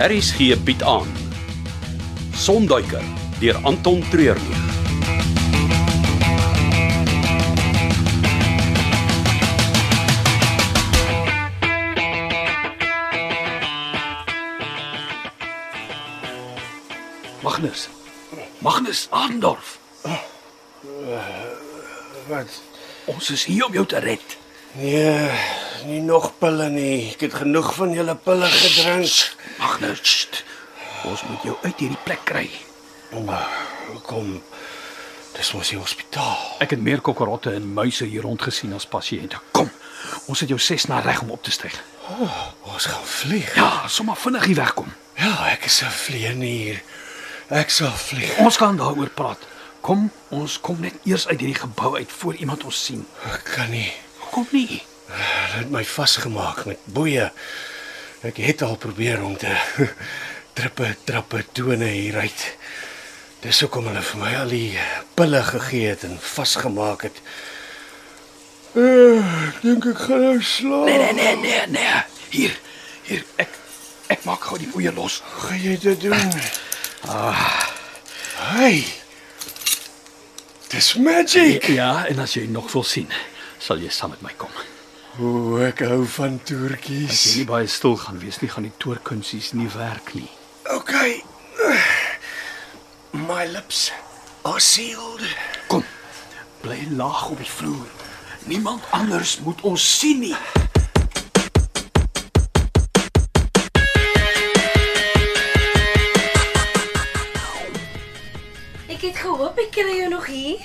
RSG bied aan Sonduiker deur Anton Treurnig. Magnus. Magnus Adendorf. Wat? Ons is hier om jou te red. Nee, nie nog pille nie. Ek het genoeg van julle pille gedrink. Magnus. sst. Ons moet jou uit hierdie plek kry. Kom. Dis mos die hospitaal. Ek het meer kokkerotte en muise hier rond gesien as pasiënte. Kom. Ons het jou ses na reg om op te styg. Ons gaan vlieg. Ja, sommer vinnig hier wegkom. Ja, ek is 'n vleenier. Ek sal vlieg. Ons kan daaroor praat. Kom, ons kom net eers uit hierdie gebou uit voor iemand ons sien. Ek kan nie. Kom nie. Hulle het my vasgemaak met boeye. Ek het al probeer om te trippe, trappe, tone hier uit. Dis hoekom hulle vir my al die pille gegee het en vasgemaak het. Eh, Ek dink ek gaan nou slaap. Nee, nee, nee, nee, nee. Hier. Hier ek ek maak gou die boeie los. Gaan jy dit doen? Ah. Hey. Dis magic. Ja, en as jy nog wil sien, sal jy saam met my kom. O, ek hou van As jy toertjies. nie baie stil gaan wees nie, gaan die toorkunsies nie werk nie. Okay. My lips are sealed. Kom. Bly laag op die vloer. Niemand anders moet ons sien nie. Ek het gehoop ek kry jou nog hier.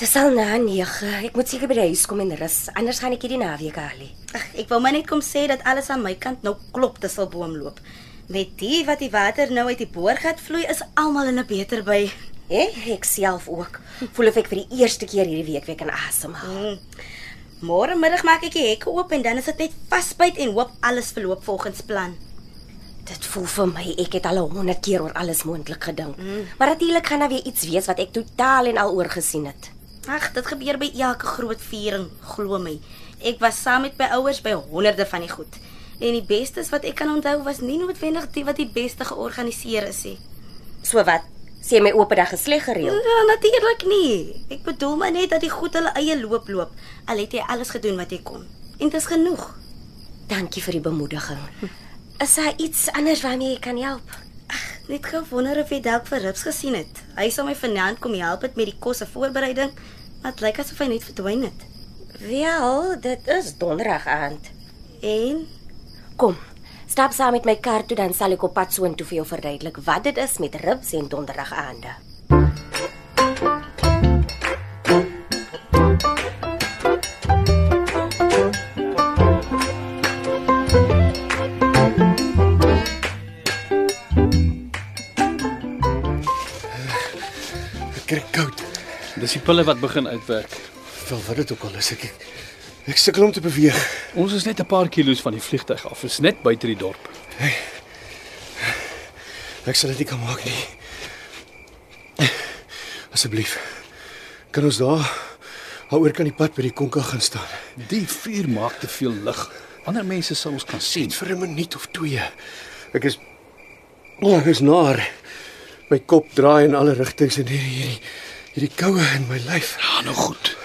Dis al na 9. Ek moet seker by die huis kom en rus, anders gaan ek hierdie naweek haal. Ag, ek wou maar net kom sê dat alles aan my kant nou klop tussen boomloop. Met die wat die water nou uit die boorgat vloei, is almal in 'n beter by. Hè? Ek self ook. Voel of ek vir die eerste keer hierdie week weer kan asemhaal. Mm. Môre middag maak ek die hekke oop en dan is dit net vasbyt en hoop alles verloop volgens plan. Mm. Dit voel vir my ek het al 100 keer oor alles moontlik gedink. Mm. Maar natuurlik gaan daar weer iets wees wat ek totaal en al oorgesien het. Ag, dit gebeur by elke groot viering, glo my. Ek was saam met my ouers by honderde van die goed. En die bestes wat ek kan onthou was nie noodwendig die wat die beste georganiseer is nie. So wat? Sê my oop dag is sleg gereël. Ja, natuurlik nie. Ek bedoel maar net dat die goed hulle eie loop loop. Al het hy alles gedoen wat hy kon. En dit is genoeg. Mm. Dankie vir die bemoediging. Is daar iets anders waarmee ek kan help? Ag, net gou wonder of jy dalk vir Rips gesien het. Hy sou my vanaand kom help het met die kos se voorbereiding, maar dit lyk asof hy net verdwyn het. Wel, dit is donderdag aand. En Kom. Stap saam met my kar toe dan sal ek op pad soontoe vir jou verduidelik wat dit is met ribs en donderdag aande. Ek kry koud. Dis die pille wat begin uitwerk. Wel wat dit ook al is ek ek sukkel om te beweeg. Ons is net 'n paar kilos van die vliegtyg af. Ons is net buite die dorp. Ek sal dit nie kan maak nie. Asseblief. Kan ons daar houoor kan die pad by die konka gaan staan? Die vuur maak te veel lig. Ander mense sal ons kan sien. Net vir 'n minuut of twee. Ek is oh, ek is naar. My kop draai in alle rigtings en hierdie hierdie hierdie koue in my lyf. Ja, nou goed.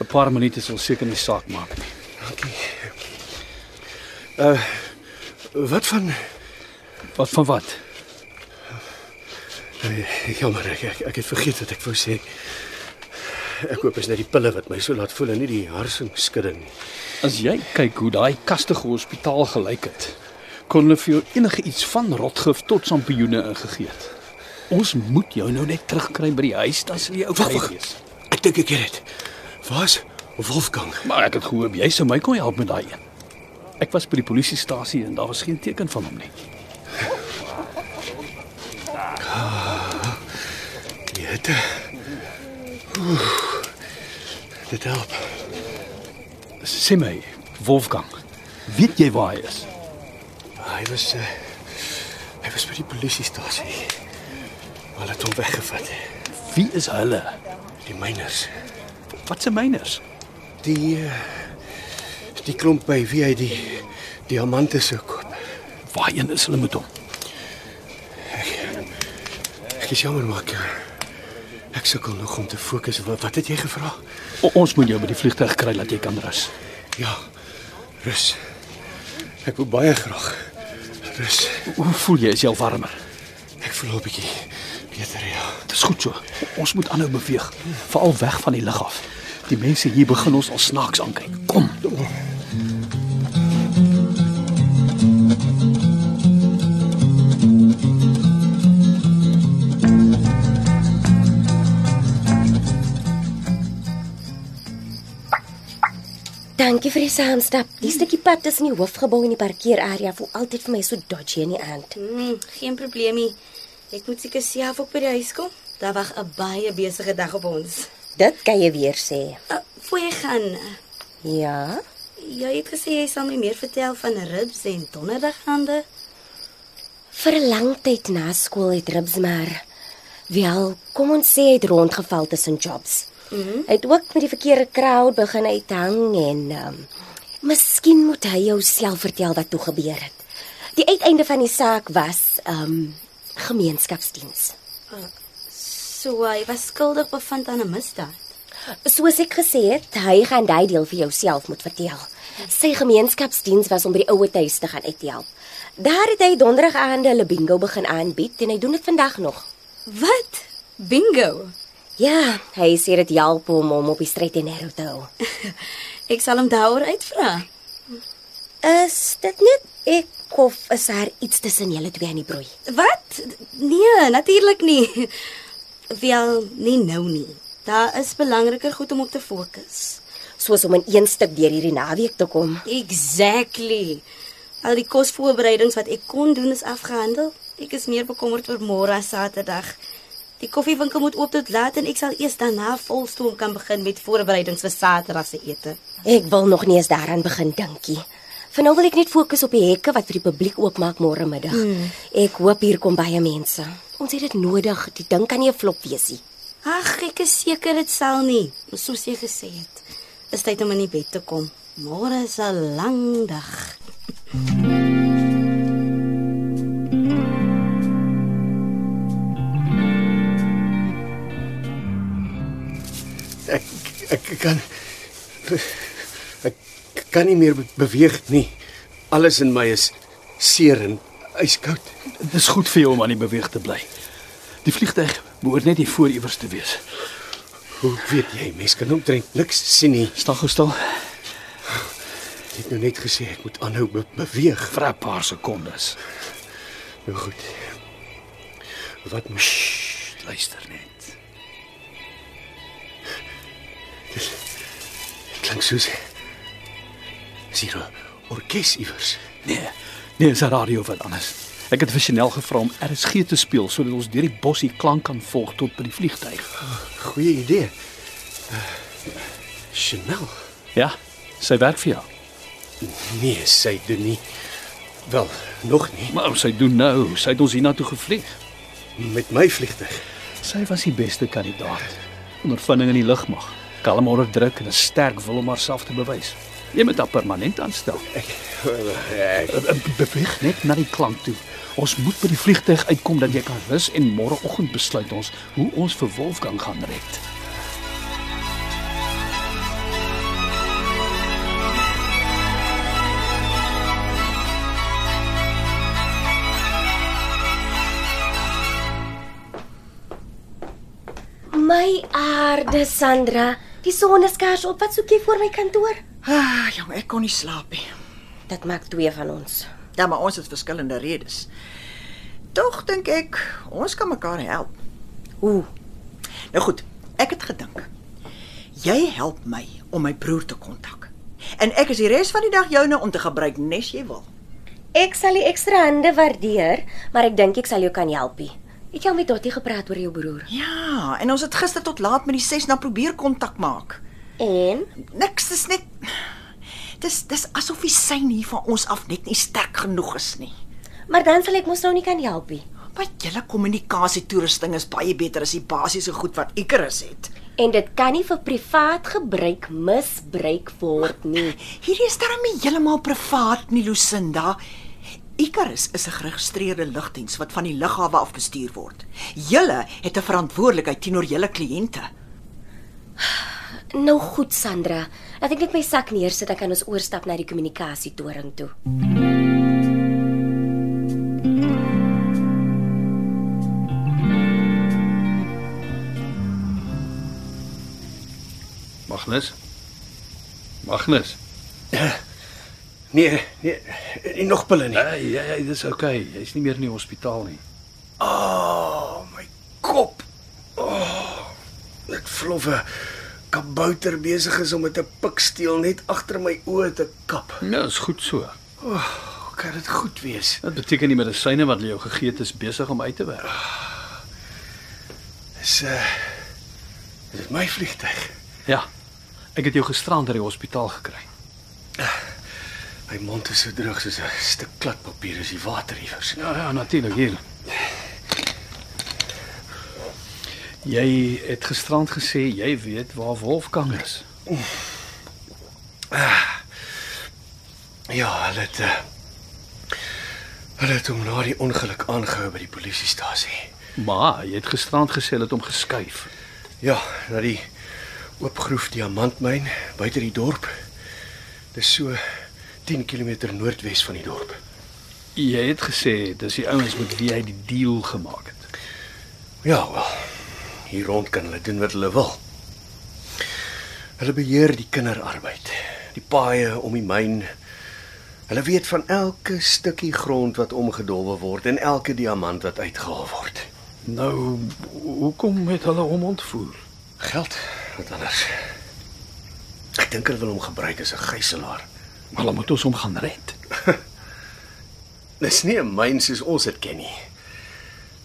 'n Paar minute sal seker nie saak maak nie. Dankie. Uh wat van Wat van wat? Eh, jammer ek, ek ek het vergeet wat ek wou sê. Ek hoop is net die pille wat my so laat voel en nie die harsingskudding nie. As jy kyk hoe daai kastige hospitaal gelyk het, kon hulle vir jou enige iets van rotgif tot sampioene ingegee het. Ons moet jou nou net terugkry by die huis, dan sal jy okay wag. wees. Ek dink ek het dit. Waar's Wolfgang? Maar ek het gehoop jy sou my kon help met daai een. Ek was by die polisiestasie en daar was geen teken van hom nie. Die hitte. Oeh, dit help. Sê my, Wolfgang, weet jy waar hy is? Hy was uh, hy was by die polisiestasie. Hulle het hom weggevat. Wie is hulle? Die myners. Wat se myners? Die eh, uh, die klomp by wie hy die diamante sou koop. Waarheen is hulle met hom? Ek is jammer maar ek eh, ek sukkel nog om te fokus. Wat, wat het jy gevra? O, ons moet jou by die vliegtuig kry dat jy kan rus. Ja. Rus. Ek wil baie graag rus. Hoe voel jy? Is jy al warmer? Ek voel 'n bietjie beter ja. Dis goed so. Ons moet aanhou beweeg, veral weg van die lug af. Die mense hier begin ons al snaaks aankyk. Kom. Dankie vir die saamstap. Die stukkie pad tussen die hoofgebou en die parkeerarea voel altyd vir my so dodgy in die aand. Hmm, geen probleemie. Ek moet seker self ook by die huis kom. Daar wag 'n baie besige dag op ons. Dit kan jy weer sê. Uh, voor jy gaan, eh, Ja. jy het gesê jy sal my meer vertel van ribs en donderdagaande. Vir 'n lang tyd na skool het Ribs maar wel, kom ons sê hy het rondgeval tussen jobs. Mm -hmm. Hy het ook met die verkeerde crowd begin uithang en um, miskien moet hy jouself vertel wat toe gebeur het. Die uiteinde van die saak was um gemeenskapsdiens. So hy was skuldig bevind aan 'n misdaad. Soos ek gesê het, hy gaan daai deel vir jouself moet vertel. Sy gemeenskapsdiens was om by die ouer huis te gaan uithelp. Daar het hy donderdag aande hulle bingo begin aanbied en hy doen dit vandag nog. Wat? Bingo. Ja, hy sê dit help hom om op die stryd en narrow te hou. Ek sal hom daaroor uitvra. Is dit net ek of is daar iets tussen julle twee aan die broei? Wat? Nee, natuurlik nie. Wel, nie nou nie. Daar is belangriker goed om op te fokus. Soos om in een stuk deur hierdie naweek te kom. Exactly. Al die kosvoorbereidings wat ek kon doen is afgehandel. Ek is meer bekommerd oor môre as Saterdag. Die koffiewinkel moet oop tot laat en ek sal eers daarna volstoom kan begin met voorbereidings vir Saterdag se ete. Ek wil nog nie eens daaraan begin dinkie. Van nou wil ek net fokus op die hekke wat vir die publiek oopmaak môre middag. Mm. Ek hoop hier kom baie mense. Ons het dit nodig. Die ding kan nie 'n flop wees nie. Ag, ek is seker dit sal nie. Soos jy gesê het, is tyd om in die bed te kom. Môre is 'n lang dag. Ek ek ek kan ek kan nie meer be- beweeg nie. Alles in my is seer en yskoud. Dis goed vir jou om aan die beweeg te bly. Die vliegtuig behoort net hier voor iewers te wees. Hoe weet jy mense kan omtrent niks sien nie. Staan gou stil Jy het nou net gesê ek moet aanhou be beweeg. vir 'n paar sekondes. Nou goed. Wat moet Sst, Luister net. klink soos is hier 'n orkes iewers. Nee. Nee, is 'n radio wat anders. Ek het vir Chanel gevra om RSG te speel sodat ons deur die bos die klank kan volg tot by die vliegtuig. Goeie idee. Uh, Chanel. Ja, sy werk vir jou. Nee, sy doen nie. Wel, nog nie Maar sy doen nou, sy het ons hiernatoe gevlieg. met my vliegtuig. Sy was die beste kandidaat. Ondervinding in die lugmag, kalm onder druk en 'n sterk wil om haarself te bewys. Jy moet haar permanent aanstel. eh, Ek Be- eh, be- Beweeg net na die klank toe. Ons moet by die vliegtyg uitkom dat jy kan rus en môreoggend besluit ons hoe ons vir Wolfgang gaan red. My aarde Sandra, die son is skaars op. Wat soek jy voor my kantoor? Ah, jong, ek kon nie slaap nie. Dit maak twee van ons. Dan maar ons het verskillende redes. Tog dink ek ons kan mekaar help. Hoe? Nou goed, ek het gedink. Jy help my om my broer te kontak. En ek is die res van die dag joune om te gebruik nes jy wil. Ek sal die ekstra hande waardeer, maar ek dink ek sal jou kan helpie. Het jy al met Dottie gepraat oor jou broer? Ja, en ons het gister tot laat met die 6 na probeer kontak maak. En Niks, dis net dis dis asof die sein hier van ons af net nie sterk genoeg is nie. maar dan sal ek mos nou nie kan helpie. Maar julle kommunikasie toerusting is baie beter as die basiese goed wat Icarus het. En dit kan nie vir privaat gebruik misbruik word nie. Hierdie is darem nie heeltemal privaat nie, Lucinda. Icarus is 'n geregistreerde lugdiens wat van die lughawe af bestuur word. Julle het 'n verantwoordelikheid teenoor julle kliënte. Nou goed, Sandra. Laat ek net my sak neersit, dan kan ons oorstap na die kommunikasietoring toe. Magnus. Magnus. Nee, nee, nie nog pille nie. Hey, hey, hey, dis okay. Jy's nie meer in die hospitaal nie. Oh, my kop. Oh, ek floffe kabouter besig is om met 'n piksteel net agter my oë te kap. Nou, is goed so. Oh, kan dit goed wees? Dit beteken die medisyne wat hulle jou gegee het is besig om uit te werk. Dis uh dis my vliegtyg. Ja. Ek het jou gisterand by die hospitaal gekry. My mond is so droog soos 'n stuk kladpapier as die water iewers. Ja, ja, natuurlik hier. Jy het gisterand gesê jy weet waar Wolfgang is. Ja, hulle het uh, hulle het hom na die ongeluk aangehou by die polisiestasie. Maar jy het gisterand gesê hulle het hom geskuif. Ja, na die oopgroef diamantmyn buite die dorp. Dis so 10 km noordwes van die dorp. Jy het gesê dis die ouens met wie hy die deal gemaak het. Ja, wel. Hier rond kan hulle doen wat hulle wil. Hulle beheer die kinderarbeid, die paaie om die myn. Hulle weet van elke stukkie grond wat omgedolwe word en elke diamant wat uitgehaal word. Nou, hoekom het hulle hom ontvoer? Geld, wat anders. Ek dink hulle wil hom gebruik as 'n gijslaer. Maar hulle moet ons hom gaan red. Dis nie 'n myn soos ons dit ken nie.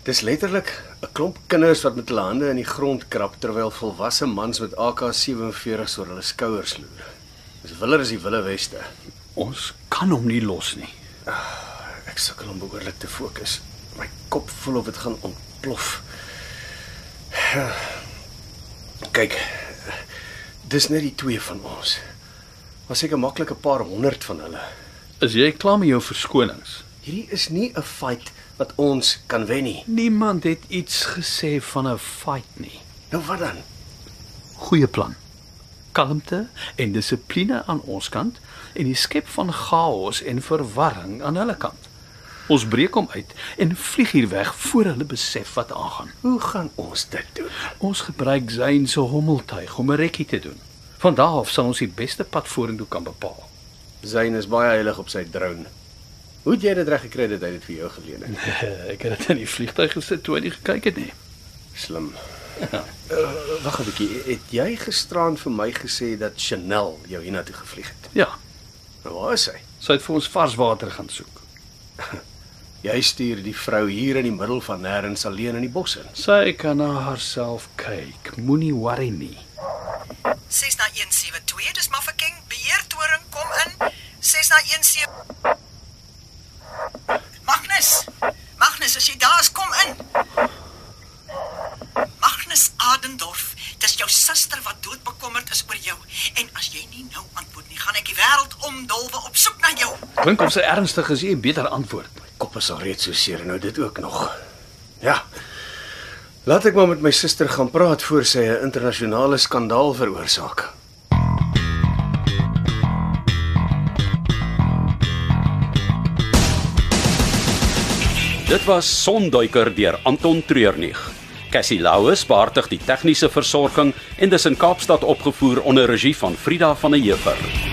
Dis letterlik 'n klomp kinders wat met hulle hande in die grond krap terwyl volwasse mans met AK47s oor hulle skouers loer. Dis willer as die Wille Weste. Ons kan hom nie los nie. Ek sukkel om behoorlik te fokus. My kop voel of dit gaan ontplof. Kyk. Dis net die twee van ons. Was seker maklik 'n paar honderd van hulle. Is jy klaar met jou verskonings? Hierdie is nie 'n fight wat ons kan wen nie. Niemand het iets gesê van 'n fight nie. Nou wat dan? Goeie plan. Kalmte en dissipline aan ons kant en die skep van chaos en verwarring aan hulle kant. Ons breek hom uit en vlieg hier weg voor hulle besef wat aangaan. Hoe gaan ons dit doen? Ons gebruik Zayn se hommeltuig om 'n rekkie te doen. Van daar af sal ons die beste pad vorentoe kan bepaal. Zayn is baie heilig op sy drone. Hoe het jy dit reg gekry dat hy dit vir jou geleen het? Ek het dit in die vliegtuig gesit toe hy nie gekyk het nie. Slim. Uh, Wag 'n bietjie. Het jy gisteraan vir my gesê dat Chanel jou hiernatoe gevlieg het? Ja, Nou waar is hy? sy het vir ons vars water gaan soek. Jy stuur die vrou hier in die middel van nêrens alleen in die bos in. Sy kan na haarself kyk. Moenie worry nie. 6 na 172, dis Mafeking, beheertoring, kom in. 6 na 17 Magnus. Magnus, as jy daar is, kom in. Magnus Adendorf, dis jou suster wat doodbekommerd is oor jou en as jy nie nou antwoord nie, gaan ek die wêreld omdolwe op soek na jou. Klink of sy ernstig is, jy beter antwoord. Kop is al reeds so seer en nou dit ook nog. Ja. Laat ek maar met my suster gaan praat voor sy 'n internasionale skandaal veroorsaak. Dit was Sonduiker deur Anton Treurnig. Cassie Louws beheer die tegniese versorging en dis in Kaapstad opgevoer onder regie van Frida van der Heever.